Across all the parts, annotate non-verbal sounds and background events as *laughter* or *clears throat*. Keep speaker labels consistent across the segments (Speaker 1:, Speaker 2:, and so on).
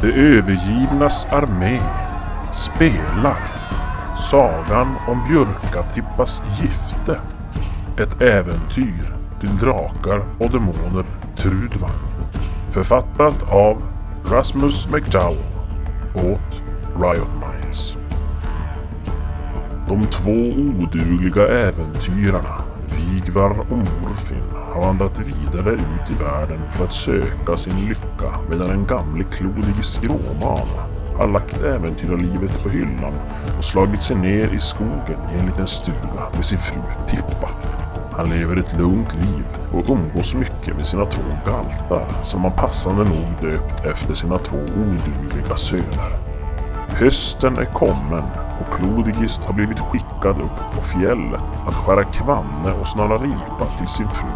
Speaker 1: Det övergivnas armé spelar Sagan om Björkatippas gifte. Ett äventyr till drakar och demoner Trudvang. Författat av Rasmus McDowell åt Riot Minds. De två odugliga äventyrarna Vigvar och Morfin har vandrat vidare ut i världen för att söka sin lycka medan den gamle klodige skråman har lagt äventyrarlivet på hyllan och slagit sig ner i skogen i en liten stuga med sin fru Tippa. Han lever ett lugnt liv och umgås mycket med sina två galtar som han passande nog döpt efter sina två odugliga söner. Hösten är kommen och Klodigist har blivit skickad upp på fjället att skära kvanne och snöra ripa till sin fru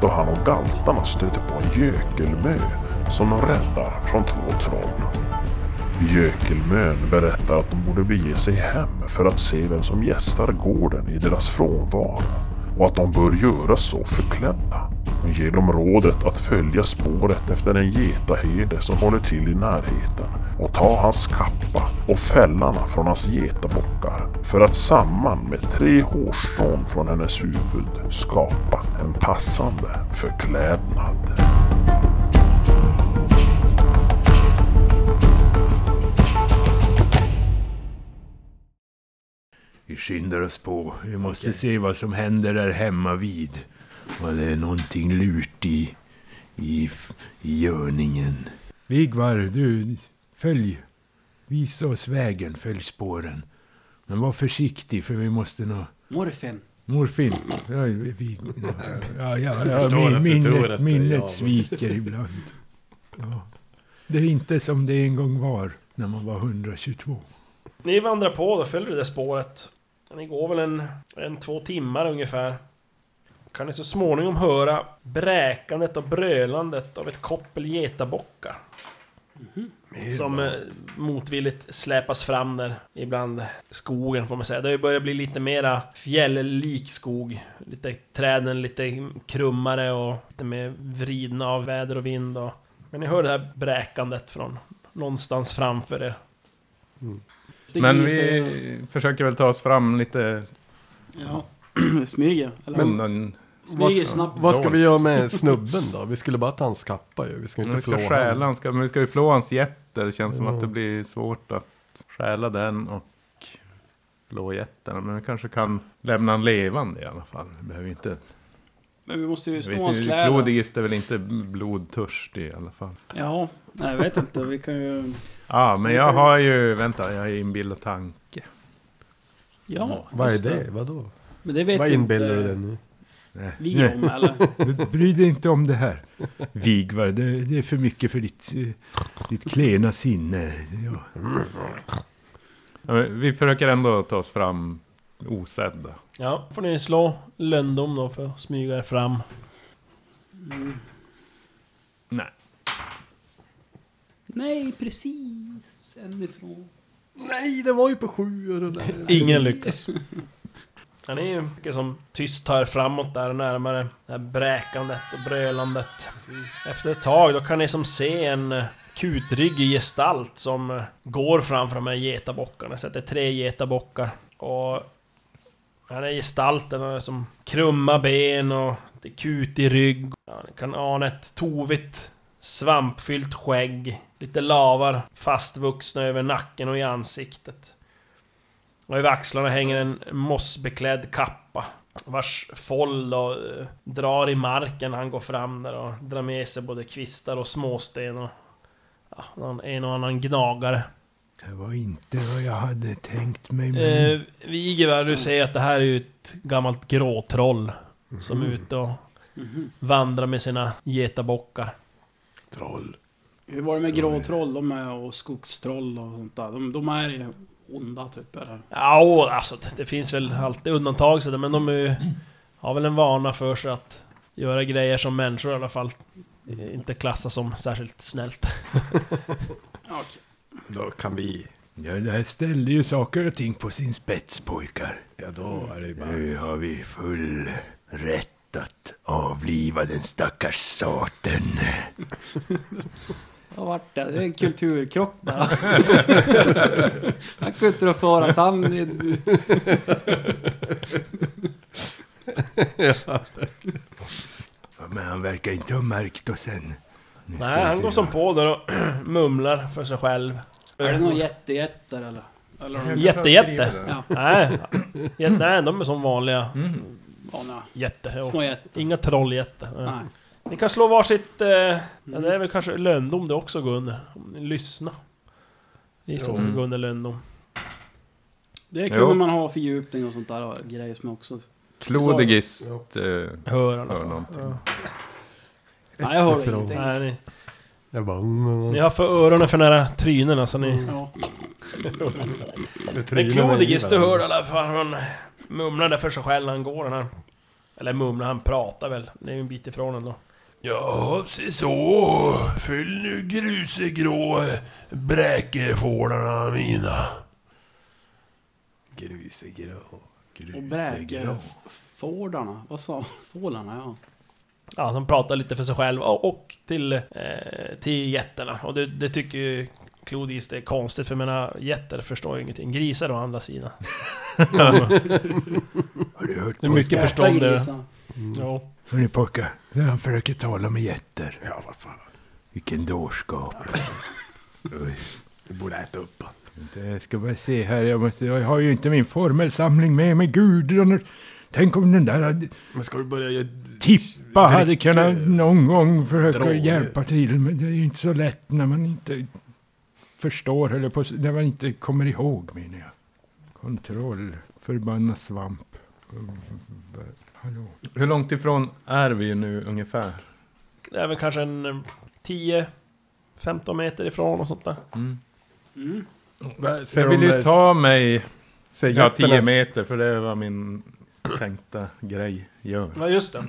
Speaker 1: då han och galtarna stöter på en gökelmö som de räddar från två troll. Gökelmön berättar att de borde bege sig hem för att se vem som gästar gården i deras frånvaro och att de bör göra så förklädda. Hon ger dem rådet att följa spåret efter en getaherde som håller till i närheten och ta hans kappa och fällarna från hans getabockar för att samman med tre hårstrån från hennes huvud skapa en passande förklädnad.
Speaker 2: Vi skyndar oss på. Vi måste se vad som händer där hemma vid. Vad det är någonting lurt i, i, f- i görningen. Vigvar, du, följ. Visa oss vägen, följ spåren. Men var försiktig, för vi måste nå...
Speaker 3: Morfin.
Speaker 2: Morfin. Ja, vi, ja, ja, ja,
Speaker 4: förstår
Speaker 2: min,
Speaker 4: att du tror
Speaker 2: minnet,
Speaker 4: att-
Speaker 2: minnet
Speaker 4: ja.
Speaker 2: sviker ibland. Ja. Det är inte som det en gång var, när man var 122.
Speaker 5: Ni vandrar på då, följer det där spåret. Ni går väl en, en två timmar ungefär. Kan ni så småningom höra bräkandet och brölandet av ett koppel getabockar. Som eh, motvilligt släpas fram där ibland skogen får man säga. Det har ju börjat bli lite mera fjälllik skog. Lite träden lite krummare och lite mer vridna av väder och vind. Och... Men ni hör det här bräkandet från någonstans framför er.
Speaker 3: Det
Speaker 4: Men
Speaker 3: grisar-
Speaker 4: vi försöker väl ta oss fram lite
Speaker 3: Ja. *clears throat* Smyger. Eller
Speaker 6: Men-
Speaker 4: undan.
Speaker 6: Vad,
Speaker 3: smyger snabbt.
Speaker 6: vad ska vi göra med snubben då? Vi skulle bara ta hans kappa ju. Vi ska inte
Speaker 4: Vi ska
Speaker 6: flå
Speaker 4: stjäla
Speaker 6: honom.
Speaker 4: hans, men vi ska ju flå hans jätter. Det känns som att det blir svårt att stjäla den och flå jätterna. Men vi kanske kan lämna en levande i alla fall. Vi behöver inte...
Speaker 3: Men vi måste ju
Speaker 4: jag
Speaker 3: stå
Speaker 4: vet
Speaker 3: hans
Speaker 4: inte,
Speaker 3: kläder.
Speaker 4: Klodigist är väl inte blodtörstig i alla fall.
Speaker 3: Ja, nej, jag vet inte. Vi kan ju...
Speaker 4: Ja, men jag har ju... Vänta, jag har ju inbillat tanke.
Speaker 3: Ja.
Speaker 6: Vad är
Speaker 3: just
Speaker 6: det? Vadå?
Speaker 3: Men det vet
Speaker 6: Vad
Speaker 3: ju
Speaker 6: inbillar du
Speaker 3: inte
Speaker 6: dig nu?
Speaker 3: Vi om, eller?
Speaker 2: Bry dig inte om det här, Vigvar. Det, det är för mycket för ditt, eh, ditt klena sinne. Ja.
Speaker 4: Ja, men Vi försöker ändå ta oss fram osedda.
Speaker 5: Ja, får ni slå löndom då för att smyga er fram.
Speaker 4: Nej.
Speaker 3: Nej, precis. Änifrån.
Speaker 6: Nej, det var ju på sju och det där.
Speaker 5: Ingen lyckas. *laughs* Ja, ni är ju mycket som tyst tar er framåt där närmare det här bräkandet och brölandet. Efter ett tag då kan ni som se en eh, kutryggig gestalt som eh, går framför de här getabockarna. Så att det är tre getabockar. Och den här gestalten har som krumma ben och det är kutig rygg. Ja, ni kan ana ett tovigt svampfyllt skägg. Lite lavar fastvuxna över nacken och i ansiktet. Och i axlarna hänger en mossbeklädd kappa. Vars fåll då, eh, drar i marken när han går fram där och drar med sig både kvistar och småsten och ja, någon- en och annan gnagare.
Speaker 2: Det var inte vad jag hade tänkt mig. Men
Speaker 5: Eh, Vigevär, du säger att det här är ju ett gammalt gråtroll som är
Speaker 2: Mhm.
Speaker 5: ute och vandrar med sina getabockar.
Speaker 3: Hur var det med gråtroll? De är och skogstroll och sånt där. De, de är ju onda typ. Eller?
Speaker 5: Ja, och alltså det, det finns väl alltid undantag sådär, men de är ju, har väl en vana för sig att göra grejer som människor i alla fall inte klassas som särskilt snällt.
Speaker 3: Ja, okej.
Speaker 6: Då kan vi...
Speaker 2: ja, det här ställer ju saker och ting på sin spets, pojkar.
Speaker 6: Ja, då är det ju bara...
Speaker 2: Nu har vi full rätt att avliva den stackars saten.
Speaker 7: Vad vart det? Det är en kulturkrock
Speaker 3: *laughs*
Speaker 7: bara. *laughs* han kunde inte rå för att han...
Speaker 2: Men han verkar inte ha märkt oss än. Nu ska vi
Speaker 5: Nej, han
Speaker 2: se
Speaker 5: går som
Speaker 2: vad-
Speaker 5: på där och *clears throat* mumlar för sig själv.
Speaker 3: Är det någon jättejätte eller? Eller har de
Speaker 5: Jättejätte?
Speaker 3: Ja.
Speaker 5: Nej, jä- nej, de är som vanliga
Speaker 3: vana
Speaker 5: jätter. och
Speaker 3: små jätter?
Speaker 5: Inga trolljätter. Nej.
Speaker 3: Nej.
Speaker 5: Ni kan slå varsitt... Eh, ja, det är väl kanske löndom det också går under. Om ni lyssnar. Gissa att det
Speaker 4: Jo.
Speaker 5: ska gå under löndom.
Speaker 3: Det
Speaker 4: Jo.
Speaker 3: kunde man ha fördjupning och sånt där och grejer som också...
Speaker 4: Klodigist eh,
Speaker 5: Hör alla
Speaker 4: hör
Speaker 5: fall.
Speaker 4: någonting.
Speaker 5: Ja.
Speaker 3: Nej, jag hörde
Speaker 6: Jättefrån.
Speaker 3: ingenting.
Speaker 5: Nej, ni,
Speaker 6: Jag bara... Mm,
Speaker 5: ni har för öronen för nära trynen alltså ni...
Speaker 3: Ja.
Speaker 5: Men Klodigis, du hör i alla fall han mumlar där för sig själv när han går den här. Eller mumlar, han pratar väl. Det är ju en bit ifrån ändå.
Speaker 2: Ja, se så. Fyll nu grusegrå bräkefålarna mina. Grusegrå.
Speaker 3: Och bräkefårdarna. Vad sa Fålarna, ja.
Speaker 5: Ja, som pratar lite för sig själv och, och till, eh, till jätterna. Och det, det tycker ju Clodis det är konstigt, för jag menar jätter förstår ju ingenting. Grisar å
Speaker 4: *laughs*
Speaker 5: andra sidan.
Speaker 2: Har du hört
Speaker 5: Det är mycket förstånd det.
Speaker 3: Grisar.
Speaker 5: Ja.
Speaker 2: Hörni pojkar, det är han försöker tala med jätter. Ja, vad fan. Vilken dårskap.
Speaker 6: Du borde äta upp han.
Speaker 2: Jag ska bara se här, jag, måste, jag har ju inte min formelsamling med mig. Gud, den- tänk om den där hade-
Speaker 6: Men ska du börja... ge-
Speaker 2: Tippa hade
Speaker 6: Dryck,
Speaker 2: kunnat
Speaker 6: eh,
Speaker 2: någon gång försöka
Speaker 6: droger.
Speaker 2: hjälpa till, men det är ju inte så lätt när man inte förstår, eller på, när man inte kommer ihåg menar jag. Kontroll, förbanna svamp. V- Hallå?
Speaker 4: Hur långt ifrån är vi nu ungefär?
Speaker 5: Det är väl kanske en eh, 10-15 meter ifrån och sånt där.
Speaker 3: Mm.
Speaker 6: Vad- ser
Speaker 4: Jag
Speaker 6: de
Speaker 4: vill ju
Speaker 6: där-
Speaker 4: ta mig
Speaker 6: ser
Speaker 4: ja, 10
Speaker 6: jätternas-
Speaker 4: meter, för det är vad min tänkta grej gör.
Speaker 5: Ja, just det.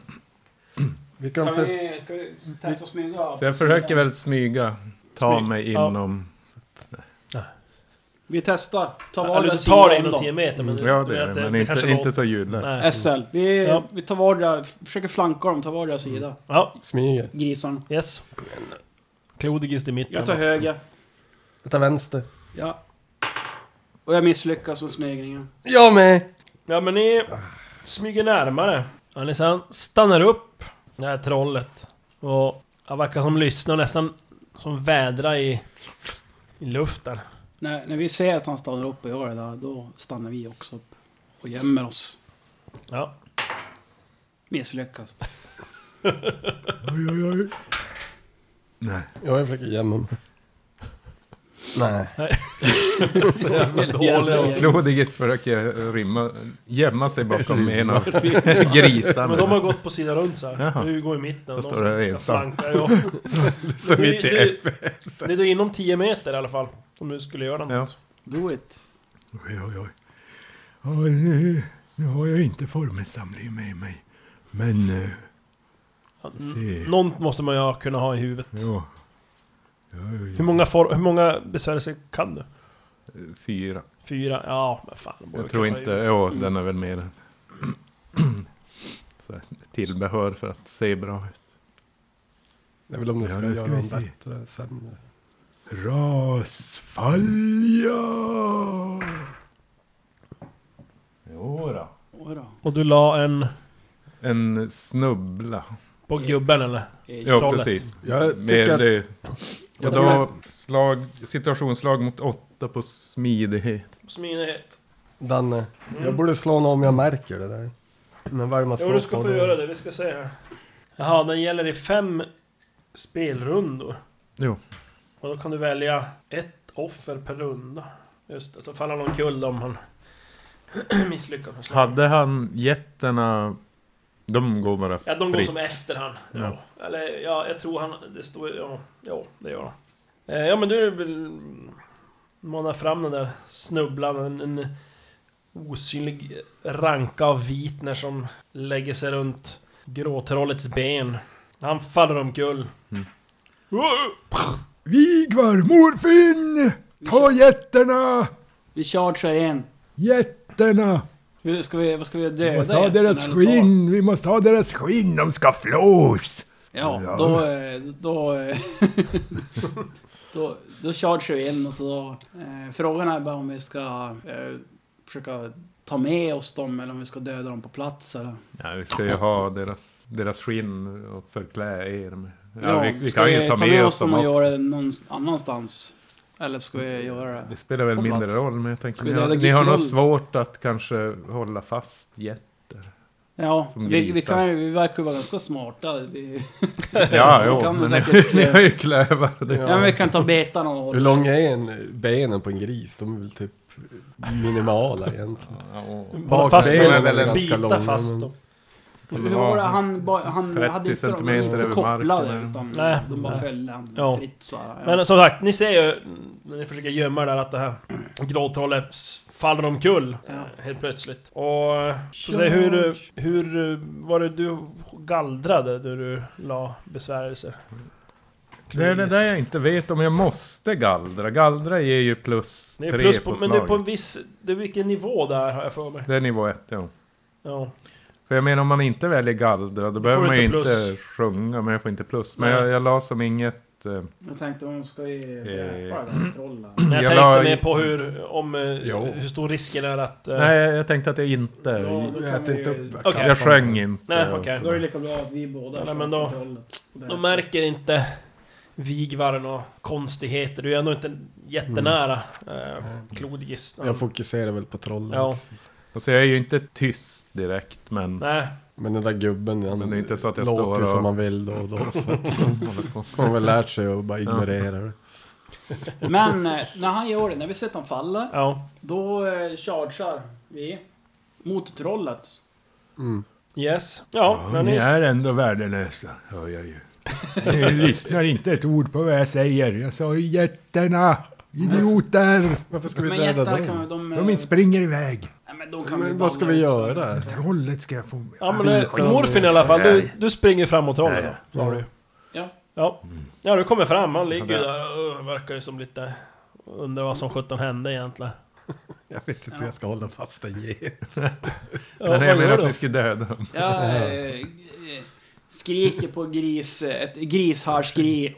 Speaker 6: Vi kan för...
Speaker 3: vi, ska vi testa att smyga?
Speaker 4: Så jag försöker väl smyga, ta mig
Speaker 5: Ja.
Speaker 4: inom...
Speaker 3: Vi testar. Ta
Speaker 5: Eller
Speaker 3: vardera
Speaker 5: du tar
Speaker 3: sida
Speaker 5: det
Speaker 3: om
Speaker 5: inom 10
Speaker 3: dem.
Speaker 5: meter, men...
Speaker 4: Mm. Ja,
Speaker 5: du
Speaker 4: det
Speaker 5: vet,
Speaker 4: är det,
Speaker 5: det
Speaker 4: men inte,
Speaker 5: kanske
Speaker 4: inte
Speaker 5: går-
Speaker 4: så ljudlöst.
Speaker 5: Nej.
Speaker 3: SL. Vi,
Speaker 5: Ja. Mm.
Speaker 3: vi tar vardera, försöker flanka dem, ta vardera sida.
Speaker 5: Ja,
Speaker 6: Smyger.
Speaker 3: Grisarna.
Speaker 5: yes. Klodigis i mitten.
Speaker 3: Jag tar höger.
Speaker 6: Jag tar vänster.
Speaker 3: Ja. Och jag misslyckas med smegningen.
Speaker 6: Jag med!
Speaker 5: Ja men ni smyger närmare. Alessan stannar upp, det här trollet. Och han verkar som lyssnar nästan som vädrar i, i luften.
Speaker 3: När, när vi ser att han stannar upp och gör det där, då stannar vi också upp. Och gömmer oss.
Speaker 5: Ja.
Speaker 3: Misslyckas.
Speaker 2: Nej.
Speaker 6: Ja, jag försöker gömma mig. Nej.
Speaker 4: Klodigis försöker rymma, gömma sig bakom en av
Speaker 5: Men de har
Speaker 4: grisarna.
Speaker 5: gått på sidan runt så här.
Speaker 4: Jaha.
Speaker 5: Du går i mitten.
Speaker 4: Då
Speaker 5: de
Speaker 4: står
Speaker 5: som
Speaker 4: jag
Speaker 5: ska
Speaker 4: ensam.
Speaker 5: flanka,
Speaker 4: *laughs*
Speaker 5: ja.
Speaker 4: Så
Speaker 5: Men det-
Speaker 4: mitt i
Speaker 5: det-
Speaker 4: F.
Speaker 5: Det är då inom 10 meter i alla fall. Om du skulle göra något.
Speaker 4: Ja.
Speaker 3: Do it.
Speaker 2: Oj, oj, oj. Ja, nu, nu har jag inte formelsamlingen med mig. Men... Eh, se.
Speaker 5: Någon mm. måste man ju ha- kunna ha i huvudet.
Speaker 2: Ja. Ja, ja, ja.
Speaker 5: Hur många, for- hur många besvärjelser kan du?
Speaker 4: Fyra.
Speaker 5: Fyra? Ja, men fan. de borde
Speaker 4: Jag tror
Speaker 5: kunna
Speaker 4: inte...
Speaker 5: ju-
Speaker 4: Ja, den är väl mer... *clears throat* Så här, Tillbehör för att se bra ut.
Speaker 6: Det är väl om du
Speaker 2: Ja,
Speaker 6: ska
Speaker 2: nu
Speaker 6: göra
Speaker 2: ska vi
Speaker 6: dem
Speaker 2: se.
Speaker 6: bättre sen.
Speaker 2: Rasfalja!
Speaker 4: Jodå.
Speaker 3: Oj då.
Speaker 5: Och du la en
Speaker 4: En snubbla.
Speaker 5: på gubben eller?
Speaker 4: Ja,
Speaker 5: Trollet.
Speaker 4: precis.
Speaker 6: Jag
Speaker 4: Med
Speaker 6: tycker att...
Speaker 4: det. Och då slag, situationsslag mot åtta på smidighet.
Speaker 5: Smidighet.
Speaker 6: Danne, jag borde slå någon om jag märker det där. Men vad är det man
Speaker 5: Jo,
Speaker 6: slår
Speaker 5: du ska
Speaker 6: på
Speaker 5: få
Speaker 6: då?
Speaker 5: göra det. Vi ska se här. Jaha, den gäller i fem spelrundor.
Speaker 4: Jo.
Speaker 5: Och då kan du välja ett offer per runda. Just det, så faller någon kull om han *clears throat* misslyckas med slaget.
Speaker 4: Hade han jätterna... De går bara
Speaker 5: Ja, de går
Speaker 4: fritt.
Speaker 5: som efter han. Ja.
Speaker 4: Ja.
Speaker 5: Eller ja, jag tror han... Det står... Ja, ja det gör han. Eh, Ja, men du vill mana fram den där snubblan. En, en osynlig ranka av vitner som lägger sig runt gråtrollets ben. Han faller omkull.
Speaker 4: Mm.
Speaker 2: Vigvar, morfin! Ta jätterna!
Speaker 3: Vi chargear in.
Speaker 2: Jätterna!
Speaker 3: Hur ska vi, vad ska vi
Speaker 2: Vi
Speaker 3: döda?
Speaker 2: måste ha
Speaker 3: jätten
Speaker 2: deras
Speaker 3: eller ta?
Speaker 2: skinn, vi måste ha deras skinn, de ska flås!
Speaker 3: Ja, då... eh, Då, eh, *laughs* då, då chargear vi in och så... Eh, frågan är bara om vi ska eh, försöka ta med oss dem eller om vi ska döda dem på plats eller...
Speaker 4: Ja, vi ska ju ha deras, deras skinn och förklä er med. Ja, vi, vi
Speaker 3: ska
Speaker 4: kan ju ta med oss dem
Speaker 3: och
Speaker 4: också.
Speaker 3: göra det någon annanstans? Eller ska vi göra det?
Speaker 4: Det spelar väl
Speaker 3: på
Speaker 4: mindre
Speaker 3: plats.
Speaker 4: roll, men jag tänker
Speaker 3: Ska vi
Speaker 4: ni har,
Speaker 3: döda
Speaker 4: ni har nog
Speaker 3: Gitroll?
Speaker 4: svårt att kanske hålla fast jätt.
Speaker 3: Ja,
Speaker 4: Som
Speaker 3: vi, vi,
Speaker 4: grisar.
Speaker 3: kan, ju- vi verkar ju vara ganska smarta. Vi,
Speaker 4: Ja,
Speaker 3: vi
Speaker 4: jo,
Speaker 3: kan
Speaker 4: men *laughs*
Speaker 3: säkert...
Speaker 4: ni
Speaker 3: eh,
Speaker 4: har ju klövar. Det.
Speaker 3: Ja, men vi kan ta betan och
Speaker 6: Hur
Speaker 3: hålla.
Speaker 6: långa är en, benen på en gris? De är väl typ minimala egentligen.
Speaker 4: Ja, och
Speaker 5: Bara fast
Speaker 6: Bakbenen
Speaker 5: med
Speaker 6: är väl
Speaker 5: dem,
Speaker 6: ganska
Speaker 5: bita
Speaker 6: långa,
Speaker 5: fast
Speaker 6: men-
Speaker 5: dem.
Speaker 3: Hur var det? Han, ba- han
Speaker 4: 30
Speaker 3: hade inte de
Speaker 4: centimeter
Speaker 3: inte
Speaker 4: över
Speaker 3: kopplade
Speaker 4: marken.
Speaker 3: utan
Speaker 5: Nej.
Speaker 3: de bara
Speaker 5: Nej.
Speaker 3: följde han
Speaker 5: Ja.
Speaker 3: fritt så här, ja.
Speaker 5: Men som sagt, ni ser ju när ni försöker gömma det där att det här gråtrollet s- faller omkull
Speaker 3: Ja.
Speaker 5: eh, helt plötsligt. Och... eh, Så säg, hur, eh, hur eh, var det du gallrade när du la besvärjelse?
Speaker 4: Det är det där jag inte vet om jag måste gallra. Gallra ger ju plus
Speaker 5: Det
Speaker 4: tre
Speaker 5: är plus
Speaker 4: på,
Speaker 5: på, men
Speaker 4: slaget.
Speaker 5: det är på en viss... Det är vilken nivå där har jag för mig.
Speaker 4: Det är nivå ett, ja.
Speaker 5: Ja.
Speaker 4: För jag menar om man inte väljer gallra, då behöver
Speaker 5: du
Speaker 4: man ju
Speaker 5: inte
Speaker 4: inte
Speaker 5: plus.
Speaker 4: sjunga, men jag får inte plus. Men
Speaker 5: Nej.
Speaker 4: jag, jag la som inget... Eh,
Speaker 3: Jag tänkte om ska vi
Speaker 4: Eh.
Speaker 3: dräpa det där trollet?
Speaker 5: Men jag,
Speaker 4: Jag
Speaker 5: tänkte
Speaker 4: la-
Speaker 5: mer på hur, om, eh,
Speaker 6: Jo.
Speaker 5: hur stor risken är att... eh,
Speaker 4: nej, jag tänkte att jag inte...
Speaker 3: Ja, då
Speaker 6: Jag
Speaker 3: kan
Speaker 6: äter inte
Speaker 3: vi...
Speaker 6: upp
Speaker 5: Okej.
Speaker 4: jag sjöng inte.
Speaker 5: Nej,
Speaker 4: och
Speaker 5: okej.
Speaker 3: Då är det
Speaker 4: sådär.
Speaker 3: lika bra att vi båda
Speaker 5: Ja,
Speaker 3: kör
Speaker 5: men då-
Speaker 3: till trollet. Och det-
Speaker 5: De märker inte vigvaren och konstigheter. Du är ändå inte jättenära eh, klodgistan.
Speaker 6: Jag fokuserar väl på trollen.
Speaker 5: Ja.
Speaker 6: också.
Speaker 4: Alltså jag är ju inte tyst direkt, men...
Speaker 5: Nej,
Speaker 6: Men den där gubben, han
Speaker 4: Men det är inte så att jag
Speaker 6: låter
Speaker 4: står
Speaker 6: ju
Speaker 4: och-
Speaker 6: som han vill då och då. Så att han har väl lärt sig att bara ignorera det.
Speaker 3: Men eh, när han gör det, när vi ser att han faller,
Speaker 5: ja.
Speaker 3: då eh, chargear vi mot trollet.
Speaker 6: Mm.
Speaker 5: Yes. Ja,
Speaker 2: Ja,
Speaker 5: men
Speaker 2: ni
Speaker 5: ni...
Speaker 2: är ändå värdelösa, hör jag ju. Ni lyssnar inte ett ord på vad jag säger. Jag sa ju jätterna! Idioter!
Speaker 6: Varför ska vi
Speaker 3: Men
Speaker 6: döda
Speaker 3: jättar kan
Speaker 6: dem?
Speaker 3: vi... De, eh,
Speaker 2: Som inte springer iväg.
Speaker 3: nej, men de kan vi
Speaker 6: Men vad ska vi
Speaker 3: balla också.
Speaker 6: göra?
Speaker 2: Trollet ska jag få...
Speaker 5: Ja men eh, Morfin i alla fall, du, du springer fram och trollar då, sa du
Speaker 3: Ja.
Speaker 5: Ja. Ja, du kommer fram, han ligger ju där och verkar ju som lite... Undrar vad som sjutton hände egentligen.
Speaker 6: Jag vet inte hur jag ska hålla fast en get.
Speaker 5: Ja,
Speaker 4: Men
Speaker 5: vad
Speaker 4: jag menar
Speaker 5: gör
Speaker 4: att
Speaker 5: du?
Speaker 4: ni skulle döda dem.
Speaker 3: Jag eh, eh, skriker på gris, eh, ett grisharskri.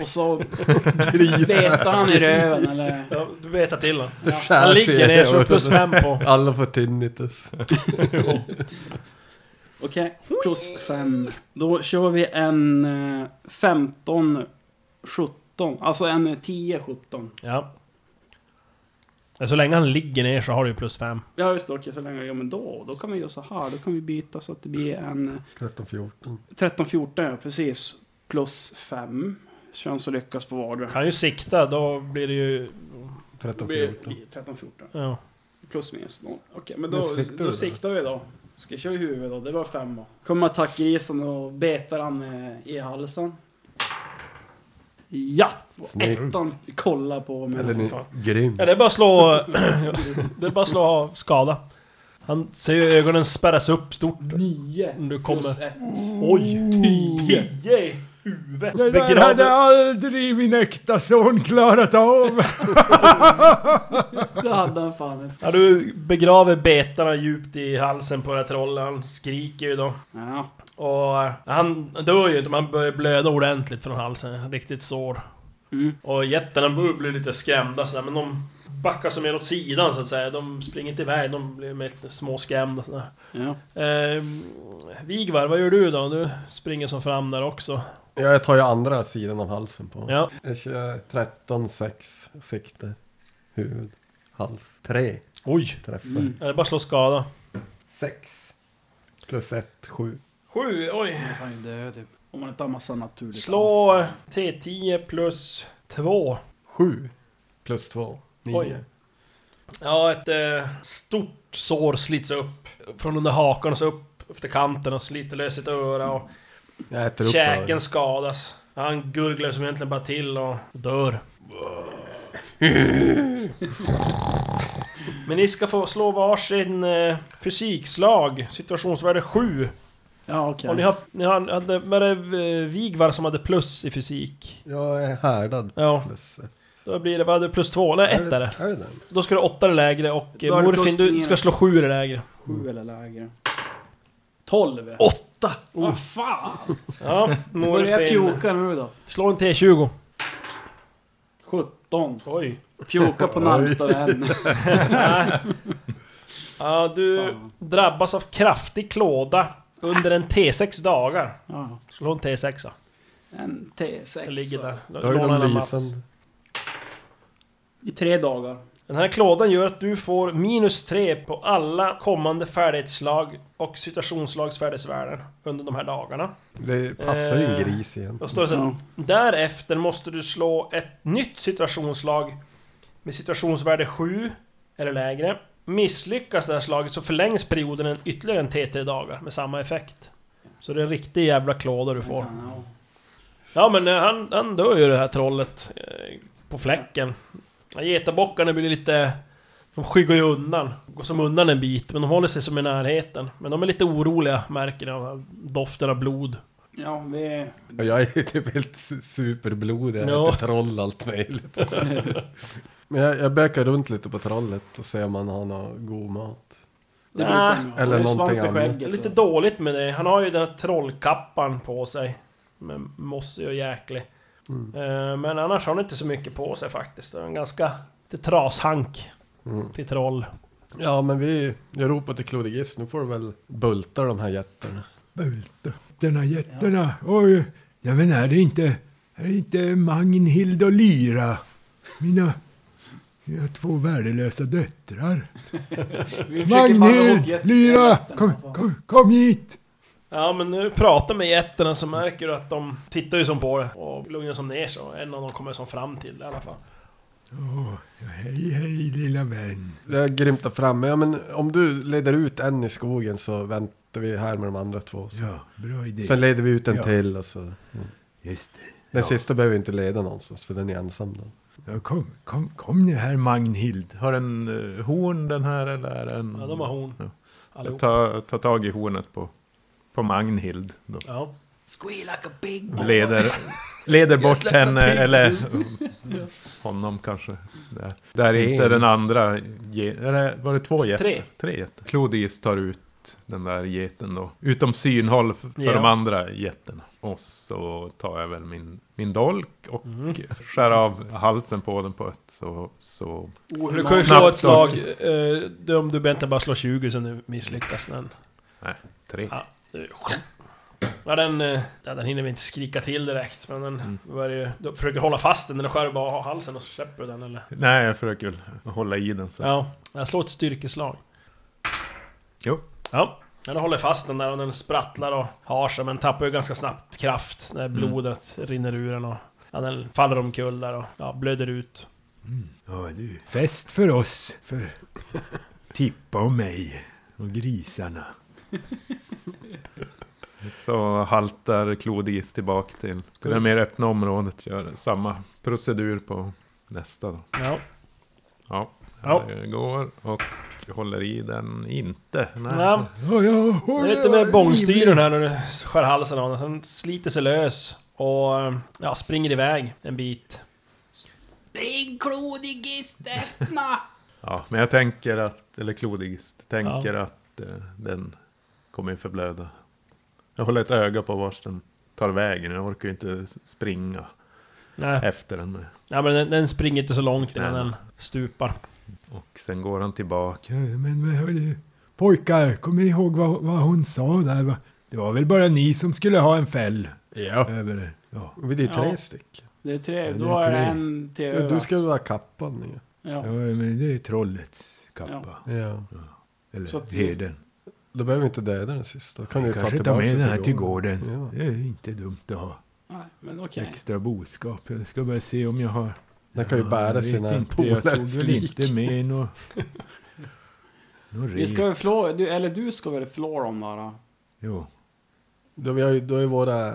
Speaker 3: Och så betar han i röven eller...
Speaker 5: Ja, du vet att till honom.
Speaker 6: Det
Speaker 5: *laughs* Han
Speaker 6: skär
Speaker 5: ligger
Speaker 6: fel.
Speaker 5: ner så du har plus fem
Speaker 6: *laughs*
Speaker 5: på.
Speaker 6: Alla får tinnitus.
Speaker 3: Okej, plus fem. Då kör vi en eh, 15, 17. Alltså en eh, 10, 17.
Speaker 5: Ja. Ja, Så länge han ligger ner så har du ju plus fem.
Speaker 3: Ja just det, okej så länge. Ja men då, då kan vi göra så här. Då kan vi byta så att det blir en eh,
Speaker 6: 13, 14.
Speaker 3: 13, 14 ja precis. Plus fem. Chans att lyckas på vardera.
Speaker 5: Kan ju sikta, då blir det ju...
Speaker 6: 13,
Speaker 3: blir
Speaker 6: 14.
Speaker 3: 13, 14.
Speaker 5: Ja.
Speaker 3: Plus minus noll. Okej, men då,
Speaker 6: Men siktar
Speaker 3: då
Speaker 6: du då?
Speaker 3: siktar vi då. Ska jag köra i huvudet då? Det var femma. Kommer attackgrisen och betar han eh, i halsen. Ja! Och
Speaker 6: Snyggt.
Speaker 3: ettan kollar på mig.
Speaker 6: Eller ni,
Speaker 5: fan.
Speaker 6: grym.
Speaker 5: Ja, det är bara att slå... *clears throat* det är bara att slå av skada. Han ser ju ögonen spärras upp stort.
Speaker 3: Nio!
Speaker 5: Om du
Speaker 3: Plus
Speaker 5: kommer...
Speaker 3: ett.
Speaker 5: Oj! Tio! i huvudet!
Speaker 2: Det där hade
Speaker 5: Begraver...
Speaker 2: aldrig min äkta son klarat av!
Speaker 3: Det hade han fan inte.
Speaker 5: Ja, du begraver betarna djupt i halsen på det här trollet. Han skriker ju då.
Speaker 3: Ja.
Speaker 5: Och eh, han dör ju inte, men han börjar blöda ordentligt från halsen. Riktigt sår.
Speaker 3: Mm.
Speaker 5: Och jättarna börjar bli lite skrämda sådär, men de backar som mer åt sidan så att säga. De springer inte iväg, de blir mer lite småskrämda sådär.
Speaker 3: ja.
Speaker 5: Eh, Vigvar, vad gör du då? Du springer som fram där också.
Speaker 6: Ja, jag tar ju andra sidan av halsen på.
Speaker 5: Ja.
Speaker 6: Jag kör 13, 6 sikter. Huvud, hals. Tre
Speaker 5: Oj!
Speaker 6: träffar.
Speaker 3: Mm.
Speaker 5: Ja, det är bara att slå skada.
Speaker 6: Sex. Plus ett, sju.
Speaker 5: Sju, oj!
Speaker 3: Han är död typ. Om man inte har massa naturligt
Speaker 5: Slå
Speaker 3: cancer.
Speaker 5: eh, T10 plus 2.
Speaker 6: Sju. Plus två. Nio.
Speaker 5: Oj. Ja, ett eh, stort sår slits upp. Från under hakan och så upp efter kanten och sliter lös ett öra och
Speaker 6: Jag äter upp
Speaker 5: käken skadas. Han gurglar som egentligen bara till och
Speaker 3: *laughs*
Speaker 5: dör. Men ni ska få slå varsin eh, fysikslag, situationsvärde 7.
Speaker 3: Ja okej.
Speaker 5: Och ni har, ni har, hade, var det eh, Vigvar som hade plus i fysik?
Speaker 6: Jag är härdad.
Speaker 5: Ja,
Speaker 6: Plus ett.
Speaker 5: då blir det, vad hade du, plus 2? Nej, 1 är det.
Speaker 6: Är det den?
Speaker 5: Då ska du 8 eller lägre och
Speaker 3: Då
Speaker 5: eh,
Speaker 3: är det plus
Speaker 5: Morfin, du
Speaker 3: minus.
Speaker 5: ska slå 7 eller lägre.
Speaker 3: Sju eller lägre. Tolv! åtta! Vad fan! *laughs*
Speaker 5: Ja,
Speaker 3: Börjar
Speaker 5: Morfin.
Speaker 3: pjoka nu då.
Speaker 5: Slå en T20.
Speaker 3: 17.
Speaker 5: Oj.
Speaker 3: Pjoka på närmsta
Speaker 6: *laughs*
Speaker 3: vän.
Speaker 5: Nej. Ja, du drabbas av kraftig klåda under en T6 dagar.
Speaker 3: Ja.
Speaker 5: Slå en T6.
Speaker 3: En T6.
Speaker 5: Det ligger där.
Speaker 6: Då är
Speaker 5: Låna
Speaker 6: de
Speaker 5: den, Mats.
Speaker 6: lisande.
Speaker 3: I tre dagar.
Speaker 5: Den här klådan gör att du får minus 3 på alla kommande färdighetsslag och situationsslagsfärdighetsvärden under de här dagarna.
Speaker 6: Det passar ju
Speaker 5: Eh,
Speaker 6: en gris igen.
Speaker 5: Då står det sen,
Speaker 3: Ja.
Speaker 5: Därefter måste du slå ett nytt situationsslag med situationsvärde 7 eller lägre. Misslyckas det här slaget så förlängs perioden en, ytterligare en T3 dagar med samma effekt. Så det är en riktig jävla klåda du får.
Speaker 3: Ja.
Speaker 5: Ja men eh, han, han dör ju det här trollet eh, på fläcken. Ja, Getabockarna blir lite... De skyggar ju undan. Går som undan en bit, men de håller sig som i närheten. Men de är lite oroliga, märker ni, av doften av blod.
Speaker 3: Ja, vi...
Speaker 6: Och jag är ju typ helt su- superblodig. Jag
Speaker 5: Ja.
Speaker 6: heter troll allt möjligt. Men jag, jag bökar runt lite på trollet och ser om han har någon god mat.
Speaker 3: Det
Speaker 5: Nä.
Speaker 3: brukar man ju ha.
Speaker 6: Eller
Speaker 3: Det är svamp i
Speaker 6: någonting annat.
Speaker 5: Det är
Speaker 3: skägget,
Speaker 5: lite
Speaker 3: så.
Speaker 5: dåligt med det. Han har ju den här trollkappan på sig. Med mossig och jäklig.
Speaker 6: Mm.
Speaker 5: Eh, Men annars har han inte så mycket på sig faktiskt. Det är en ganska... Lite trashank
Speaker 6: Mm.
Speaker 5: till troll.
Speaker 6: Ja, men vi... Jag ropar till Klodigis. Nu får du väl bulta de här jättarna.
Speaker 2: Jättarna, jättarna. Oj. Nej men är det inte, är det inte Magnhild och Lyra? Mina, mina två värdelösa döttrar.
Speaker 3: Vi försöker malla ihop
Speaker 2: Magnhild,
Speaker 3: jätten-
Speaker 2: Lyra,
Speaker 3: jätten,
Speaker 2: kom,
Speaker 3: vad fan.
Speaker 2: kom, kom hit!
Speaker 5: Ja men nu pratar med jätterna så märker du att de tittar ju som på det och lugnar som ner sig. Och En av dem kommer som fram till det i alla fall.
Speaker 2: Åh, hej, hej lilla vän.
Speaker 6: Jag grimtar fram. Ja, men om du leder ut en i skogen så väntar vi här med de andra två. Så.
Speaker 2: Ja, bra idé.
Speaker 6: Sen leder vi ut en
Speaker 2: Ja.
Speaker 6: till och så. Den
Speaker 2: Just det.
Speaker 6: sista behöver vi inte leda någonstans för den är ensam då.
Speaker 2: Ja, kom, kom, kom nu här Magnhild.
Speaker 4: Har den eh, horn den här eller är den...
Speaker 5: Ja de har horn.
Speaker 4: Ja. Jag
Speaker 5: Allihop.
Speaker 4: tar, tar tag i hornet på, på Magnhild. Då.
Speaker 5: Ja.
Speaker 7: Squeal like a big
Speaker 4: Leder, leder bort
Speaker 7: släpper
Speaker 4: henne,
Speaker 7: pigs,
Speaker 4: eller honom kanske. Där, där är inte
Speaker 6: en.
Speaker 4: den andra, ge- är det, var det två getter?
Speaker 5: Tre.
Speaker 4: Tre getter. Clodius tar ut den där geten då, utom synhåll för, för
Speaker 5: Ja.
Speaker 4: de andra getterna. Och så tar jag väl min, min dolk och
Speaker 5: Mm.
Speaker 4: skär av halsen på den på ett så, så
Speaker 5: Du kan ju slå
Speaker 4: Snabbt
Speaker 5: ett slag. eh, det är om du egentligen bara slår 20 så nu misslyckas den.
Speaker 4: tre.
Speaker 5: Ja. Ja, den, eh, ja, den hinner vi inte skrika till direkt, men den börjar ju... Du försöker hålla fast den, den skär du bara av halsen och så släpper du den eller?
Speaker 4: Nej, jag försöker väl hålla i den så.
Speaker 5: Ja, jag slår ett styrkeslag.
Speaker 4: Jo.
Speaker 5: Ja, den håller fast den där och den sprattlar och har sig, men tappar ju ganska snabbt kraft
Speaker 4: Mm.
Speaker 5: när blodet rinner ur den och... Ja, den faller omkull där och ja, blöder ut.
Speaker 2: Ja, du. Fest för oss. För Tippa och mig. Och grisarna.
Speaker 4: Så haltar Clodius tillbaka till till det mer öppna området. Gör samma procedur på nästa då.
Speaker 5: Ja.
Speaker 4: Ja,
Speaker 5: Ja.
Speaker 4: det går och håller i den inte. Nej.
Speaker 5: ja.
Speaker 2: Ja, ja,
Speaker 5: Det är lite mer bångstyren här när du skär halsen av den. Sen sliter sig lös och eh, ja, springer iväg en bit.
Speaker 7: Spring klodigist efter
Speaker 4: Ja, men jag tänker att, eller Clodius, tänker att eh, den kommer förblöda. Jag håller ett öga på vars den tar vägen. Jag orkar ju inte springa
Speaker 5: Nej.
Speaker 4: efter den. med.
Speaker 5: Ja, men den, den springer inte så långt innan
Speaker 4: Eh. Nej.
Speaker 5: den stupar.
Speaker 4: Och sen går han tillbaka.
Speaker 2: Ja, Men, men hörru, pojkar, kommer ni ihåg vad, vad hon sa där? Va? Det var väl bara ni som skulle ha en fäll
Speaker 6: Ja.
Speaker 2: över er? Ja,
Speaker 6: Vi är tre
Speaker 3: Ja.
Speaker 6: stycken.
Speaker 3: Det är
Speaker 2: Ja,
Speaker 3: tre.
Speaker 2: det
Speaker 3: Då
Speaker 2: är
Speaker 3: är
Speaker 2: tre.
Speaker 3: det en till
Speaker 6: Ja, du
Speaker 3: över.
Speaker 6: ska väl ha kappan? Ja.
Speaker 2: ja
Speaker 3: Ja.
Speaker 2: men det är trollets kappa.
Speaker 6: Ja.
Speaker 2: Eller
Speaker 3: Så att-
Speaker 2: herden.
Speaker 6: Då behöver vi inte döda den sista. Då kan du ta
Speaker 2: Kanske
Speaker 6: tillbaka
Speaker 2: ta med
Speaker 6: sig
Speaker 2: den här till gården.
Speaker 6: Ja.
Speaker 2: Det är inte dumt att ha
Speaker 3: Nej, men okej.
Speaker 2: extra boskap. Jag ska bara se om jag har...
Speaker 6: Den kan ju
Speaker 2: Ja,
Speaker 6: bära
Speaker 2: jag vet
Speaker 6: sina
Speaker 2: inte, Jag tog
Speaker 6: polares
Speaker 2: väl
Speaker 6: lik.
Speaker 2: inte med någon...
Speaker 6: *laughs*
Speaker 2: någon
Speaker 3: Vi
Speaker 2: rep.
Speaker 3: ska väl flå, du, eller du ska väl flå dem där? då?
Speaker 2: Jo.
Speaker 6: Då, vi har ju, då är våra eh,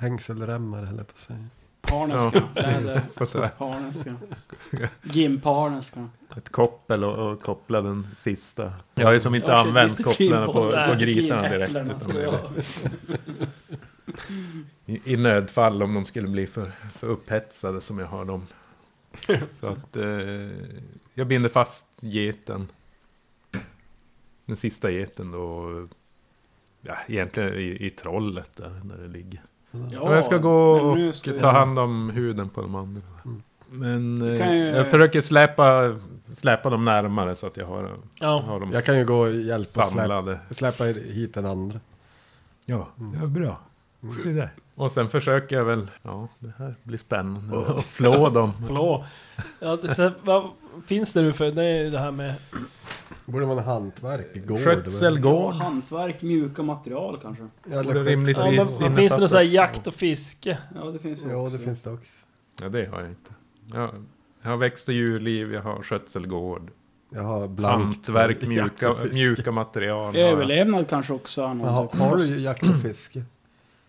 Speaker 6: hängselremmar höll jag på att säga.
Speaker 3: Harneska. Läder.
Speaker 4: Fått det där.
Speaker 3: Harneska. Gimp-harneska.
Speaker 4: ett koppel och, och koppla den sista. Jag har ju som inte
Speaker 3: Ja, shit,
Speaker 4: använt
Speaker 3: visst, det är
Speaker 4: kopplarna på,
Speaker 3: pinball.
Speaker 4: på grisarna
Speaker 3: Pinäpplen,
Speaker 4: direkt.
Speaker 3: alltså,
Speaker 4: Utan det är
Speaker 3: ja.
Speaker 4: liksom, i, I nödfall om de skulle bli för, för upphetsade som jag har
Speaker 3: *laughs*
Speaker 4: dem. Så att eh, jag binder fast geten. Den sista geten då Ja, egentligen i, i trollet där, när det ligger.
Speaker 3: Ja,
Speaker 4: Ja, jag ska gå
Speaker 3: men nu
Speaker 4: och
Speaker 3: ska vi- Mm.
Speaker 4: ta hand om huden på de andra. Men eh,
Speaker 3: kan ju-
Speaker 4: jag försöker släpa, släpa dem närmare så att jag har,
Speaker 5: Ja,
Speaker 4: har dem
Speaker 6: Jag kan ju gå och hjälpa och släppa,
Speaker 4: samlade.
Speaker 6: släppa hit den andra.
Speaker 2: Ja, det var bra. Det där.
Speaker 4: Och sen försöker jag väl, ja det här blir spännande, *laughs* och flå dem.
Speaker 5: förlåt. Ja, det, så, vad finns det nu för... Det är ju det här med...
Speaker 6: Borde man ha hantverk i *laughs* gård?
Speaker 3: Ja,
Speaker 4: Skötselgård.
Speaker 3: hantverk, mjuka material kanske.
Speaker 6: Ja, eller
Speaker 4: Borde
Speaker 6: skötsel.
Speaker 4: rimligtvis-
Speaker 5: Ja,
Speaker 4: Precis,
Speaker 5: men,
Speaker 4: innefattat.
Speaker 5: finns det någon sån här jakt och fiske?
Speaker 3: Ja, det finns ju
Speaker 6: Ja,
Speaker 3: också.
Speaker 6: det finns det också.
Speaker 4: Ja det har jag inte. Jag, jag har växt och djurliv, jag har skötselgård.
Speaker 6: Jag har blankt.
Speaker 4: Hantverk, mjuka,
Speaker 6: Jättefisk.
Speaker 4: mjuka material. har jag.
Speaker 3: Överlevnad kanske också är
Speaker 6: Men har,
Speaker 3: något.
Speaker 6: har du jakt och fiske?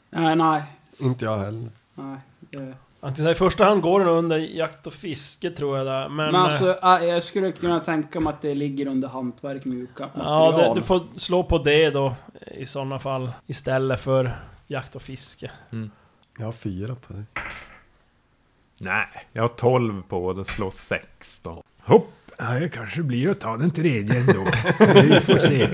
Speaker 3: Nej, nej.
Speaker 6: Inte jag heller.
Speaker 3: nej. det-
Speaker 5: Att säga, I första hand går den under jakt och fiske tror jag där. Men, eh,
Speaker 3: Men alltså, äh, jag skulle kunna tänka mig att det ligger under hantverk, mjuka
Speaker 5: eh, Ja,
Speaker 3: material.
Speaker 5: det, du får slå på det då eh, i sådana fall. Istället för jakt och fiske.
Speaker 6: Jag har fyra på det.
Speaker 4: Nej, jag har 12 på och det slår 16.
Speaker 2: Hopp! Ja, det kanske blir att ta den tredje ändå. Vi får se.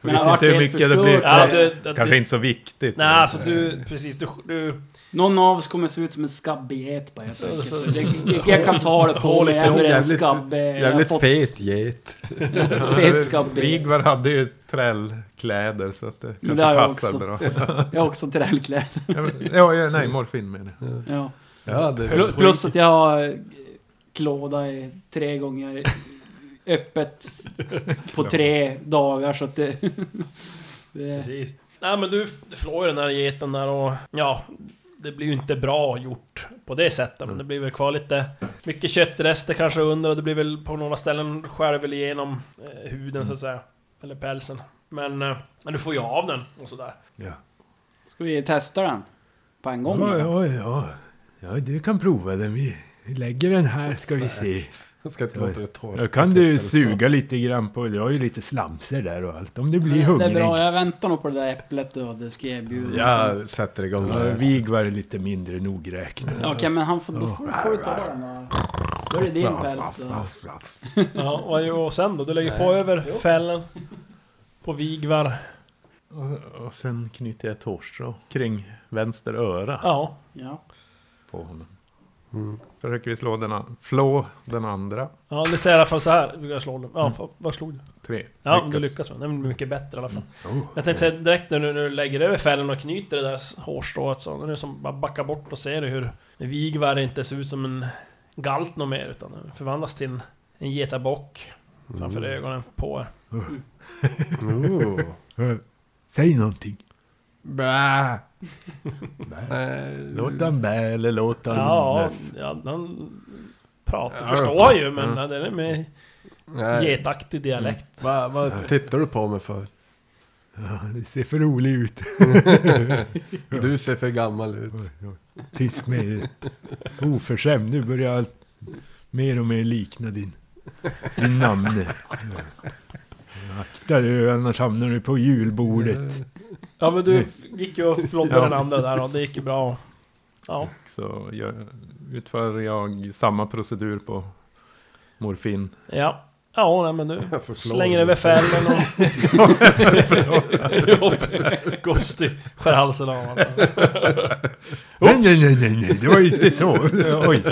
Speaker 3: Men det har
Speaker 4: Vet
Speaker 3: varit
Speaker 4: inte hur
Speaker 3: helt
Speaker 4: mycket det
Speaker 3: förstört.
Speaker 4: blir.
Speaker 5: Ja, det, det,
Speaker 4: Kanske
Speaker 5: det,
Speaker 4: inte så viktigt.
Speaker 5: Nej, alltså du... Precis, du... du
Speaker 3: Någon av oss kommer se ut som en skabbget bara helt enkelt.
Speaker 5: Alltså,
Speaker 3: Det, jag- jag kan ta det på mig, jag är en
Speaker 6: jävligt-
Speaker 3: skabbe. Jag har
Speaker 6: Jävligt
Speaker 3: fått
Speaker 6: fet get.
Speaker 4: *laughs*
Speaker 3: fet skabbe.
Speaker 4: Vigvar hade ju trällkläder så att det kanske
Speaker 3: det har jag
Speaker 4: passar
Speaker 3: också.
Speaker 4: bra. *laughs*
Speaker 3: Jag har också
Speaker 6: *laughs*
Speaker 3: trädkläder.
Speaker 4: Ja, men- ja, ja, nej, morfin menar jag.
Speaker 3: Ja.
Speaker 6: Ja, det
Speaker 3: Plus, plus att jag har eh, klåda i tre gånger
Speaker 2: *laughs*
Speaker 3: öppet på tre dagar så att det... *laughs* det
Speaker 5: Precis. Nej men du f- flår ju den här geten där och ja, det blir ju inte bra gjort på det sättet. Men det blir väl kvar lite mycket köttrester kanske under och det blir väl på några ställen skär väl igenom eh, huden så att säga. Eller pälsen. Men, eh, men du får ju av den och sådär.
Speaker 3: ska vi testa den? På en gång?
Speaker 2: Ja,
Speaker 3: eller?
Speaker 2: ja, ja. ja, du kan prova den. Vi vi lägger den här ska vi se.
Speaker 6: Jag ska inte låta det torka.
Speaker 2: Då kan du suga lite grann på, du har ju lite slamser där och allt, om du blir
Speaker 3: det är
Speaker 2: hungrig.
Speaker 3: bra, jag väntar nog på det där äpplet då, det ska jag erbjuda. sen.
Speaker 6: Jag sätter igång
Speaker 2: Ja,
Speaker 6: det.
Speaker 2: Vigvar är lite mindre nogräknad.
Speaker 3: Okej, men han får, då får, får du ta den då. Då är det din päls då.
Speaker 5: Ja, och, och sen då? Du lägger på över fällen. På Vigvar.
Speaker 4: Och, och sen knyter jag ett hårstrå kring vänster öra
Speaker 5: Ja.
Speaker 3: Ja.
Speaker 4: på honom.
Speaker 6: Mm.
Speaker 4: Försöker vi slå den, an- flå den andra.
Speaker 5: Ja, det säger i alla fall så här. Jag slår den. Ja, fa- vad slog du?
Speaker 4: Tre.
Speaker 5: Ja, om du lyckas Mm. Oh. med den. Den blir mycket bättre i alla fall. Jag tänkte säga direkt när du, när du lägger över fällen och knyter det där hårstrået så, när du som bara backar bort och ser du hur Vigvar inte ser ut som en galt något mer utan den förvandlas till en, en getabock framför ögonen på er.
Speaker 6: Oh.
Speaker 2: *laughs* Säg någonting.
Speaker 6: Bä.
Speaker 2: Låt han bä eller låt han...
Speaker 5: Ja, ja den pratar, Mm.
Speaker 6: Ja,
Speaker 5: förstår
Speaker 6: ja.
Speaker 5: jag ju men ja, den är med
Speaker 6: Nej.
Speaker 5: getaktig dialekt.
Speaker 6: Vad vad tittar du på mig
Speaker 2: *laughs*
Speaker 6: för?
Speaker 2: Ja, det ser för rolig ut.
Speaker 6: Du ser för gammal ut.
Speaker 2: Tyst med er. Oförskämd, nu börjar jag mer och mer likna din, din namne. Ja. Akta dig, annars hamnar du på julbordet.
Speaker 5: Ja men du gick ju och floppade den andra där och det gick ju bra. Ja,
Speaker 4: Så jag, utför jag samma procedur på morfin.
Speaker 5: ja. Ja, nej, men du
Speaker 6: Alltså, slår
Speaker 5: slänger
Speaker 6: du.
Speaker 5: över fällen och... Jo, Gosti skär halsen av honom.
Speaker 2: Nej, nej, nej, nej, nej, det var inte så. Oj.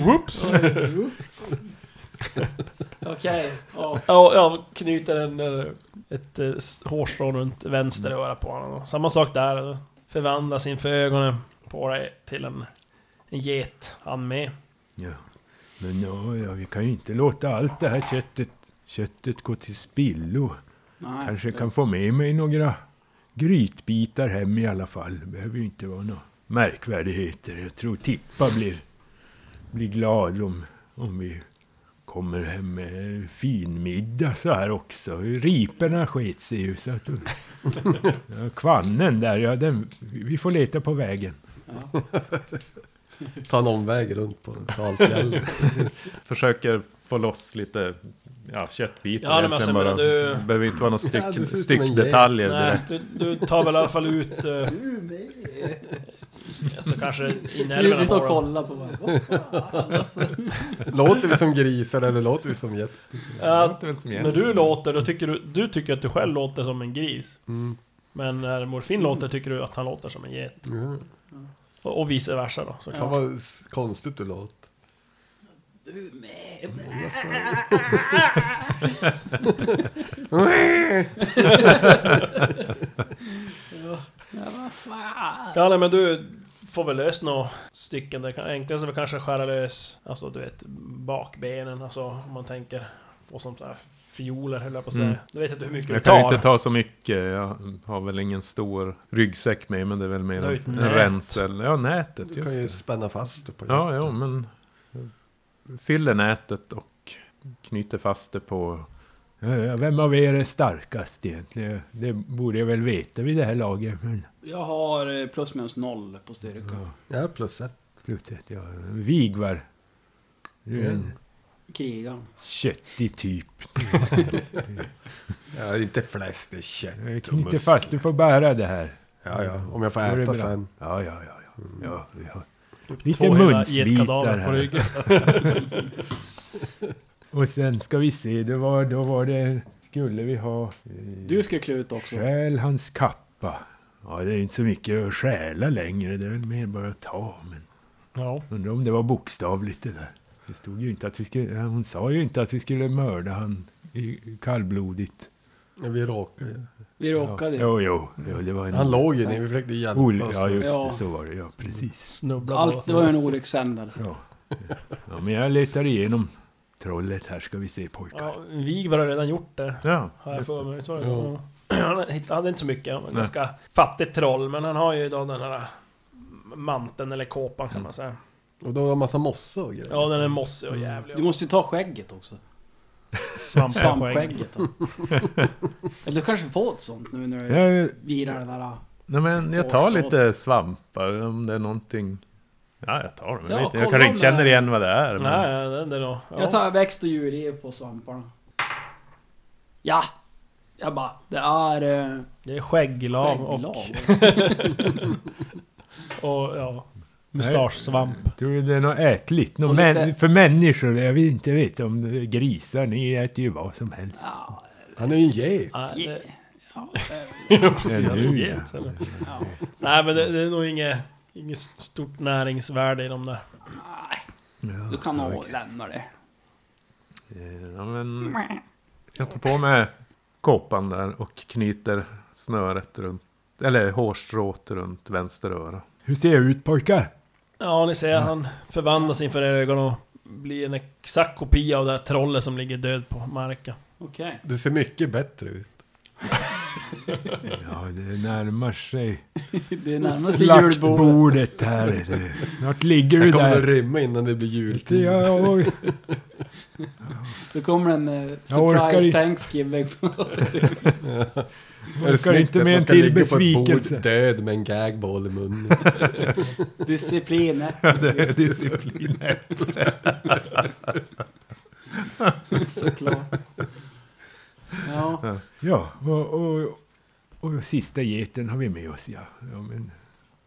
Speaker 5: Whoops!
Speaker 3: Okej, ja.
Speaker 5: Ja, jag knyter en, eh, ett eh, s- hårstrå runt vänster öra på honom. Och Samma sak där. Förvandlas inför ögonen på dig till en, en get, han med.
Speaker 2: Ja. Men ja, ja, vi kan ju inte låta allt det här köttet, köttet gå till spillo.
Speaker 3: Nej.
Speaker 2: Kanske kan få med mig några grytbitar hem i alla fall. Det behöver ju inte vara några märkvärdigheter. Jag tror Tippa blir, blir glad om, om vi kommer hem med finmiddag så här också. Riporna sket sig ju. Så att, ja, kvannen där, ja, den, vi får leta på vägen.
Speaker 6: Ta en omväg runt på Dalfjället.
Speaker 4: Försöker få loss lite ja, köttbitar
Speaker 5: Ja, men
Speaker 4: egentligen bara.
Speaker 5: alltså, men du-
Speaker 4: behöver inte vara några styck,
Speaker 6: Ja, det ser ut som en
Speaker 4: styckdetaljer
Speaker 5: Nej,
Speaker 4: direkt.
Speaker 5: du, du tar väl i alla fall ut... eh, Alltså kanske i
Speaker 3: Vi, vi
Speaker 5: nerverna
Speaker 3: står och
Speaker 5: på dem.
Speaker 3: kollar på varandra. Vad fan? Alltså,
Speaker 6: Låter vi som grisar eller låter vi som jätte?
Speaker 5: Ja,
Speaker 4: låter väl som
Speaker 5: när du låter, då tycker du, du tycker att du själv låter som en gris.
Speaker 6: Mm.
Speaker 5: Men när morfin låter tycker du att han låter som en get.
Speaker 6: Mm.
Speaker 5: Och, och vice versa då såklart.
Speaker 6: Fan vad s- konstigt du låter.
Speaker 3: du med. *laughs* Ja, vad fan?
Speaker 5: Ja, nej, men du får väl lös några stycken. Det kan- enklast är väl kanske att skära lös, alltså du vet, bakbenen, alltså om man tänker på sånt där fioler höll jag på att säga.
Speaker 4: Mm.
Speaker 5: Du vet inte hur mycket du
Speaker 4: Jag kan ju
Speaker 5: tar.
Speaker 4: inte ta så mycket. Jag har väl ingen stor ryggsäck med men det är väl mer
Speaker 5: Du har ju ett
Speaker 4: en
Speaker 5: nät.
Speaker 4: ränsel. Ja, nätet.
Speaker 6: Du kan ju
Speaker 4: Just det.
Speaker 6: spänna fast det på
Speaker 4: Ja, ja, men fyller nätet och knyter fast det på.
Speaker 2: Ja, ja, Vem av er är starkast egentligen? Det borde jag väl veta vid det här laget. Men
Speaker 3: Jag har eh, plus minus noll på styrka.
Speaker 6: Ja, plus ett.
Speaker 2: plus att jag... Vigvar. Du är
Speaker 5: Mm.
Speaker 2: en
Speaker 3: Kriga.
Speaker 2: Mm. köttig typ.
Speaker 6: Ja, inte fläsk, det är kött.
Speaker 2: Jag
Speaker 6: och
Speaker 2: Eh, Knyter
Speaker 6: muskler.
Speaker 2: fast, du får bära det här. Mm.
Speaker 6: Ja, ja, om jag får
Speaker 2: Då är det
Speaker 6: äta
Speaker 2: bra.
Speaker 6: sen.
Speaker 2: Ja, ja, ja. ja. ja vi har lite
Speaker 5: Typ Två hela
Speaker 2: munsbitar
Speaker 5: getkadaver på
Speaker 2: här.
Speaker 5: ryggen.
Speaker 2: Och sen ska vi se, det var, då var det... Skulle vi ha... eh,
Speaker 3: Du skulle klä ut också.
Speaker 2: Stjäl hans kappa. Ja, det är inte så mycket att stjäla längre. Det är väl mer bara att ta. Men
Speaker 5: *laughs* Ja.
Speaker 2: undrar om det var bokstavligt det där. Det stod ju inte att vi skulle... nej, Hon sa ju inte att vi skulle mörda han i- kallblodigt.
Speaker 6: Ja, vi råkade
Speaker 2: Mm.
Speaker 6: ju.
Speaker 3: Vi råkade ju.
Speaker 2: Jo, jo. jo det var en...
Speaker 6: Han låg ju ner, vi försökte hjälpa.
Speaker 2: Ol-
Speaker 6: oss.
Speaker 2: ja, just
Speaker 3: Ja.
Speaker 2: det. Så var det. Ja, precis.
Speaker 5: Snubbla
Speaker 3: Allt,
Speaker 5: på.
Speaker 3: det var ju en olyckshändelse.
Speaker 2: Ja. ja, men jag letar igenom trollet här ska vi se pojkar.
Speaker 5: Ja, Vigvar har redan gjort det.
Speaker 4: Ja,
Speaker 5: Har jag
Speaker 4: just
Speaker 5: för
Speaker 4: det.
Speaker 5: mig. Så,
Speaker 6: Ja.
Speaker 5: *clears throat* Han hitt- hade inte så mycket, han var en
Speaker 4: Nej.
Speaker 5: ganska fattig troll. Men han har ju då den här manteln eller kåpan kan man säga.
Speaker 6: Och då var det en massa mossa och grejer.
Speaker 5: Ja, den är mossig och
Speaker 4: Mm.
Speaker 5: jävlig.
Speaker 3: Du måste ju ta skägget också.
Speaker 5: Svampskägg.
Speaker 3: Svampskägget. ja. Eller du kanske får ett sånt nu när du
Speaker 2: Jag,
Speaker 3: virar det där.
Speaker 4: Nej, men jag tar lite svampar om det är någonting. Ja, jag tar dem. Jag,
Speaker 3: Ja,
Speaker 4: vet,
Speaker 3: kolla
Speaker 4: jag kanske inte
Speaker 3: om-
Speaker 4: känner igen vad det är. Men...
Speaker 5: Nej, det, det är då. Ja.
Speaker 3: Jag tar växt och djurliv på svamparna. Ja! Jag bara, det är... Eh,
Speaker 5: Det är skägglav
Speaker 3: skägglav.
Speaker 5: och, och ja, mustaschsvamp.
Speaker 2: Tror du det är något ätligt? Något
Speaker 3: Och lite-
Speaker 2: män, för människor? Jag vill inte veta om det är grisar. Ni äter ju vad som helst.
Speaker 3: Ja,
Speaker 6: Han är ju en get.
Speaker 5: Nej,
Speaker 3: ja,
Speaker 5: det-
Speaker 3: ja,
Speaker 5: *laughs*
Speaker 3: eh,
Speaker 5: Ja, precis.
Speaker 2: Ja, nu,
Speaker 5: Det
Speaker 2: ja.
Speaker 5: är gett, eller?
Speaker 3: ja.
Speaker 5: Nej, men det, det är nog inget, inget stort näringsvärde i de där.
Speaker 3: Nej,
Speaker 2: Ja,
Speaker 3: du kan nog
Speaker 2: okej.
Speaker 3: lämna det.
Speaker 4: Eh, Ja, men jag tar på mig kåpan där och knyter snöret runt, eller hårstrået runt vänster öra.
Speaker 2: Hur ser jag ut pojkar?
Speaker 5: Ja, ni ser han förvandlas inför era ögon och blir en exakt kopia av det här trollet som ligger död på marken.
Speaker 3: Okej.
Speaker 6: Du ser mycket bättre ut.
Speaker 2: Ja, det närmar sig
Speaker 3: Det är närmast julbordet.
Speaker 2: slaktbordet *laughs* här. Du. Snart ligger du
Speaker 6: Jag kommer att
Speaker 2: där.
Speaker 6: rymma innan det blir
Speaker 2: Inte
Speaker 6: jultid.
Speaker 2: jag, *laughs* oj.
Speaker 3: Då kommer en eh,
Speaker 2: orkar
Speaker 3: surprise
Speaker 2: inte.
Speaker 3: Thanksgiving. *laughs*
Speaker 6: Är det
Speaker 2: orkar
Speaker 6: snyggt
Speaker 2: inte
Speaker 6: att
Speaker 2: med
Speaker 6: man
Speaker 2: en
Speaker 6: ska
Speaker 2: till
Speaker 6: ligga på ett bord
Speaker 2: besvikelse?
Speaker 6: Död med en gagball i
Speaker 5: *laughs*
Speaker 6: munnen.
Speaker 3: Disciplin. eh.
Speaker 2: Det är *laughs* disciplin.
Speaker 3: Såklart. Ja,
Speaker 2: Ja, och, och, och sista geten har vi med oss. Ja. Ja, men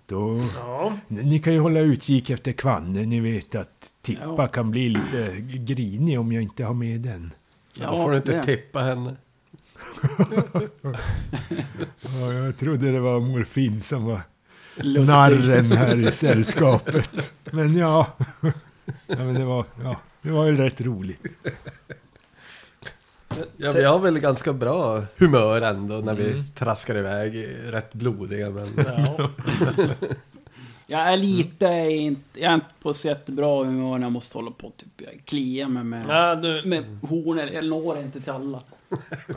Speaker 2: då,
Speaker 5: Ja,
Speaker 2: ni ni kan ju hålla utkik efter kvannen. Ni vet att Tippa
Speaker 3: Ja.
Speaker 2: kan bli lite grinig om jag inte har med den.
Speaker 6: Då får du inte
Speaker 3: det.
Speaker 6: tippa henne.
Speaker 2: Ja, jag trodde det var morfin som var
Speaker 3: Lustig.
Speaker 2: narren här i sällskapet. Men ja, ja, men det, var, ja det var ju rätt roligt.
Speaker 6: Ja,
Speaker 5: Se- Mm.
Speaker 6: vi har väl ganska bra humör ändå när vi traskar iväg eh, rätt blodiga.
Speaker 5: *laughs*
Speaker 6: Men
Speaker 5: ja.
Speaker 3: Jag är lite, inte- jag är inte på så jättebra humör när jag måste hålla på typ, jag kliar mig med,
Speaker 5: Nej, du,
Speaker 3: med hornen, jag når inte till alla.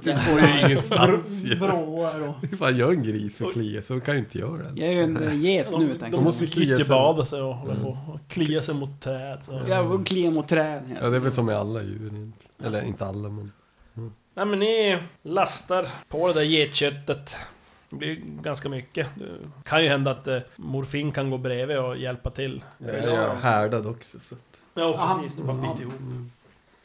Speaker 3: Jag får ju br- bråar och...
Speaker 6: hur fan gör en gris och kliar så kan ju inte jag den.
Speaker 3: Jag är ju en eh, get nu tänker
Speaker 6: De
Speaker 3: jag.
Speaker 6: måste ju klia sig.
Speaker 5: Gyttjebada sig och håller på och klia sig mot träd. Så.
Speaker 3: Jag kliar mot träd.
Speaker 6: Ja, det är
Speaker 3: helt
Speaker 6: väl som med alla djur egentligen. Eller inte alla men.
Speaker 5: Nej men ni lastar på det där getköttet. Det blir ju ganska mycket. Det kan ju hända att eh, morfin kan gå bredvid och hjälpa till.
Speaker 6: Jag är härdad också. Så. att-
Speaker 5: Ja
Speaker 3: Ja,
Speaker 5: precis, de bara
Speaker 3: ja.
Speaker 5: biter ihop.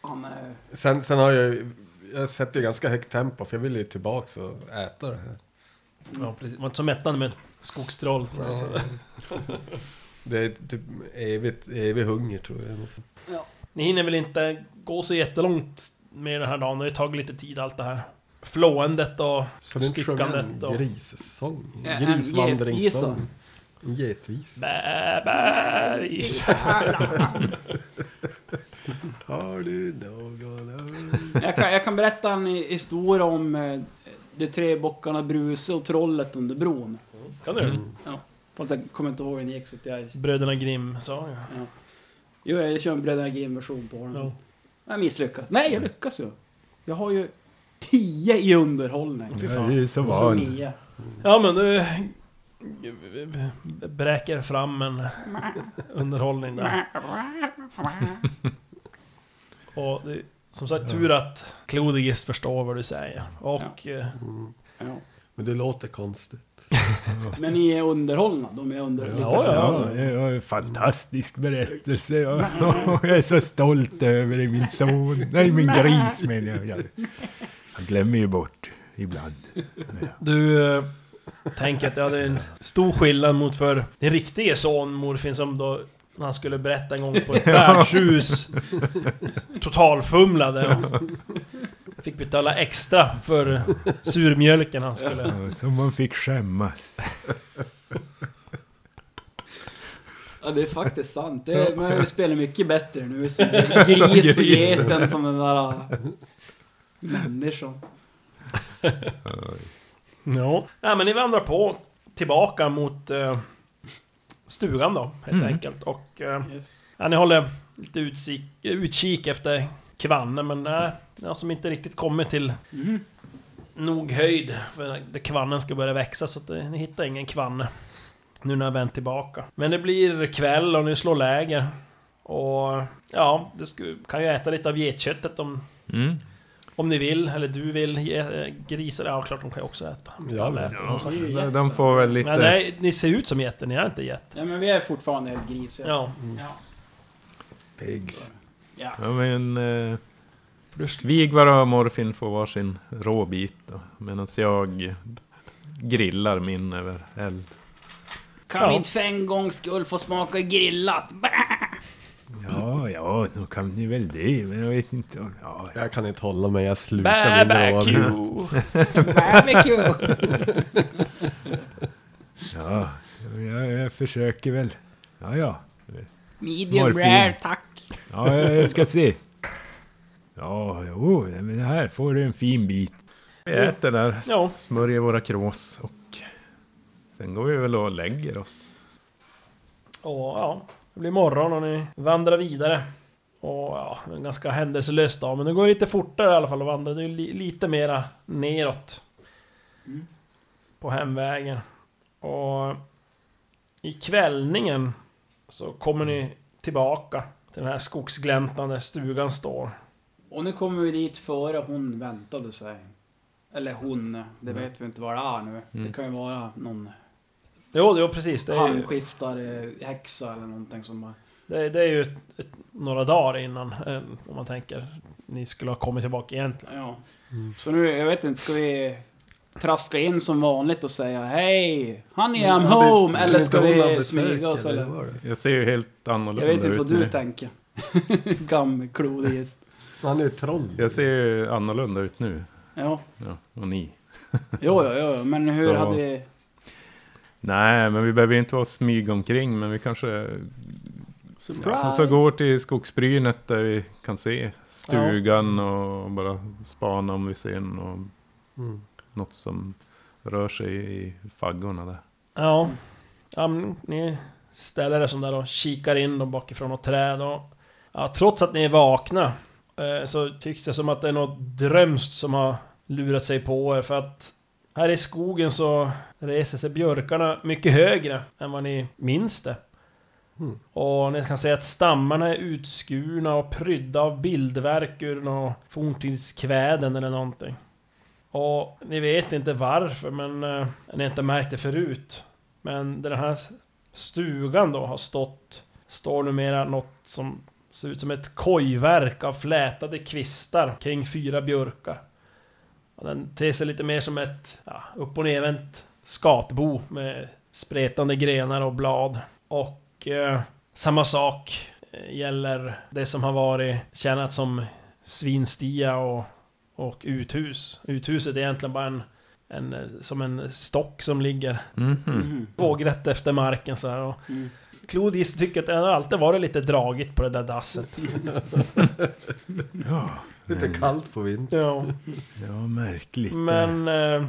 Speaker 3: Han eh, är...
Speaker 6: Sen, sen har jag ju- jag sätter ju ganska högt tempo för jag vill ju tillbaks och äta det här.
Speaker 5: Ja, precis. Det var inte så mättande med skogstroll. Så.
Speaker 6: Ja. Det är typ evigt, evig hunger tror jag.
Speaker 5: Ni hinner väl inte gå så jättelångt med den här dagen? Det har ju tagit lite tid allt det här. Flåendet och
Speaker 6: Kan du inte sjunga en
Speaker 5: stickandet och...
Speaker 6: grissång?
Speaker 3: Ja,
Speaker 6: En
Speaker 3: en
Speaker 6: Grisvandringssång?
Speaker 3: getvisa.
Speaker 6: En getvisa?
Speaker 5: Bä, bä, i-
Speaker 6: Mm. Har du någon
Speaker 3: Jag kan, jag kan berätta en historia om eh, de tre bockarna Bruse och trollet under bron.
Speaker 5: Kan du?
Speaker 3: Fast jag kommer inte ihåg hur den gick så att jag...
Speaker 5: Bröderna Grimm sa jag.
Speaker 3: Jo, jag kör en Bröderna Grimm-version på
Speaker 6: Mm.
Speaker 3: den.
Speaker 5: Ja.
Speaker 3: Jag misslyckas. Nej, jag lyckas ju. Jag har ju 10 i underhållning.
Speaker 5: Fy
Speaker 2: Jag är
Speaker 5: fan.
Speaker 2: ju så
Speaker 3: Och så
Speaker 2: van.
Speaker 3: 9.
Speaker 5: Ja men du... Bräker fram en underhållning där. Och det, som sagt, tur att Clodigis förstår vad du säger. Och... eh,
Speaker 3: Ja.
Speaker 6: Men det låter konstigt.
Speaker 3: Men ni är underhållna. De är underhållna.
Speaker 5: Ja, ja, ja.
Speaker 2: Ja, det var en fantastisk berättelse. Jag, jag är så stolt över det, min son. Nej, min gris menar jag. jag. Han glömmer ju bort ibland.
Speaker 5: Du eh, tänker att ja, det är en stor skillnad mot för din riktige son Morfin som då när han skulle berätta en gång på ett värdshus totalfumlade och fick betala extra för surmjölken han skulle...
Speaker 2: Ja, Som man fick skämmas.
Speaker 3: Ja, det är faktiskt sant. Det är, men vi spelar mycket bättre nu. *laughs* Som gris och geten som den där äh, människan.
Speaker 5: Ja. Nej men ni vandrar på tillbaka mot eh, stugan då helt
Speaker 2: Mm.
Speaker 5: enkelt och... Eh,
Speaker 3: Yes.
Speaker 5: ja, ni håller lite utkik, utkik efter Kvanne men nej, någon som inte riktigt kommer till
Speaker 3: Mhm.
Speaker 5: nog höjd för att kvannen ska börja växa så att det, ni hittar ingen kvanne. Nu när jag vänt tillbaka. Men det blir kväll och ni slår läger. Och ja, det sku, kan ju äta lite av getköttet om,
Speaker 8: Mm.
Speaker 5: om ni vill, eller du vill. Ge, eh, grisar, ja klart de kan ju också äta.
Speaker 6: Ja, men-
Speaker 5: äter, som sagt.
Speaker 3: Det är ju
Speaker 8: Nej,
Speaker 3: jätte-
Speaker 8: De får väl lite...
Speaker 5: Men nej, ni ser ut som getter, ni är inte get.
Speaker 3: Ja, men vi är fortfarande helt grisiga. Mm.
Speaker 5: Ja.
Speaker 3: Ja.
Speaker 6: Pigs.
Speaker 3: ja.
Speaker 8: Ja, men... Eh, Vigvar och Morfin får varsin råbit då, medan jag grillar min över eld.
Speaker 7: Kan
Speaker 5: Ja.
Speaker 7: vi inte för en gångs skull få smaka grillat? Bäh!
Speaker 2: Ja, ja, nu kan ni väl det, men jag vet inte om... Ja,
Speaker 6: Jag kan inte hålla mig, jag slutar min råd.
Speaker 5: Barbecue!
Speaker 7: Barbecue!
Speaker 2: ja jag, jag försöker väl. Ja, ja.
Speaker 7: Medium
Speaker 2: Morfin.
Speaker 7: rare, tack.
Speaker 2: Ja, jag, jag ska se. Ja, jo, nej, men här får du en fin bit.
Speaker 8: Vi äter där, s-
Speaker 5: Ja.
Speaker 8: smörjer våra krås och sen går vi väl och lägger oss.
Speaker 5: Och ja, det blir morgon och ni vandrar vidare. Och ja, en ganska händelselös dag, men det går lite fortare i alla fall att vandra. Det är li lite mera neråt. På hemvägen. Och i kvällningen så kommer ni tillbaka till den här skogsgläntan där stugan står.
Speaker 3: Och nu kommer vi dit före hon väntade sig. Eller hon, det
Speaker 5: Mm.
Speaker 3: vet vi inte vad det är nu. Det kan ju vara någon
Speaker 5: Jo, jo precis. Mm. Det är ju,
Speaker 3: handskiftare, häxa eller någonting som bara...
Speaker 5: det, är- det är ju ett, ett, några dagar innan, eh, om man tänker, ni skulle ha kommit tillbaka egentligen.
Speaker 3: Ja. Så nu, jag vet inte, ska vi traska in som vanligt och säga hej, honey I'm home, eller ska Mm. vi smyga oss eller?
Speaker 8: Jag ser ju helt annorlunda
Speaker 3: Jag vet inte vad
Speaker 8: ut
Speaker 3: du
Speaker 8: nu.
Speaker 3: tänker. *laughs* Gammelklodig gäst.
Speaker 6: Han är ju troll.
Speaker 8: Jag ser ju annorlunda ut nu.
Speaker 3: Ja,
Speaker 8: Ja, och ni.
Speaker 3: jo, jo, jo, men hur
Speaker 8: Så.
Speaker 3: hade vi...
Speaker 8: Nej, men vi behöver ju inte vara smyg omkring, men vi kanske
Speaker 3: Surprise!
Speaker 8: så går till skogsbrynet där vi kan se stugan och bara spana om vi ser något,
Speaker 6: Mm.
Speaker 8: något som rör sig i faggorna där.
Speaker 5: Ja. ja men ni ställer er som där och kikar in dem bakifrån och träd och... Ja, trots att ni är vakna eh, så tycks det som att det är något drömskt som har lurat sig på er för att här i skogen så reser sig björkarna mycket högre än vad ni minns det.
Speaker 6: Mm.
Speaker 5: Och ni kan se att stammarna är utskurna och prydda av bildverk ur någon forntidskväden eller någonting. Och ni vet inte varför, men eh, ni har inte märkt det förut. Men den här stugan då har stått, står numera något som ser ut som ett kojverk av flätade kvistar kring fyra björkar. Och den ter sig lite mer som ett ja, upp och nervänt skatbo med spretande grenar och blad. Och eh, samma sak eh, gäller det som har varit tjänat som svinstia och, och uthus. Uthuset är egentligen bara en, en, eh, som en stock som ligger
Speaker 8: Mhm.
Speaker 3: Mm-hmm.
Speaker 5: vågrätt efter marken så här. Och
Speaker 3: Mm.
Speaker 5: Clodis tycker att det har alltid varit lite dragigt på det där dasset.
Speaker 6: Lite kallt på vintern.
Speaker 5: Ja.
Speaker 8: Ja, märkligt.
Speaker 5: Men eh,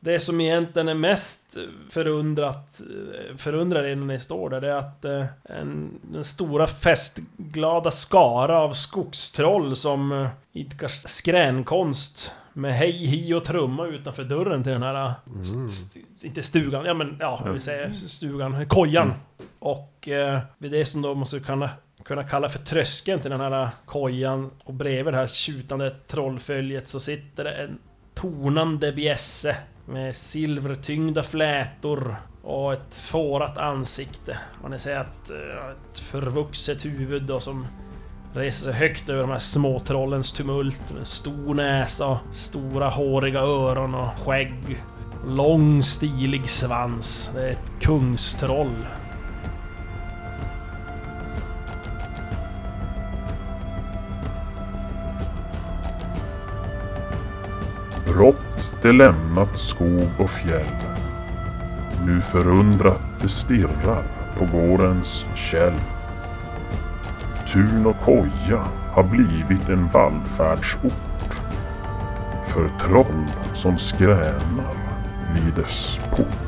Speaker 5: det som egentligen är mest förundrat, eh, förundrar er när ni står där, det är att eh, en, den stora festglada skara av skogstroll som eh, idkar skränkonst med hej, hi och trumma utanför dörren till den här... eh, St- st- inte stugan, ja men ja, vi säger stugan, kojan. Och eh, vid det som då måste kunna, kunna kalla för tröskeln till den här eh, kojan och bredvid det här tjutande trollföljet så sitter det en tonande bjässe med silvertyngda flätor och ett fårat ansikte. Och ni ser att eh, ett förvuxet huvud då som reser sig högt över de här småtrollens tumult med en stor näsa och stora håriga öron och skägg. Lång stilig svans. Det är ett kungstroll.
Speaker 1: Rått det lämnat skog och fjäll. Nu förundrat det stirrar på gårdens käll. Tun och koja har blivit en vallfärdsort. För troll som skränar vid dess port.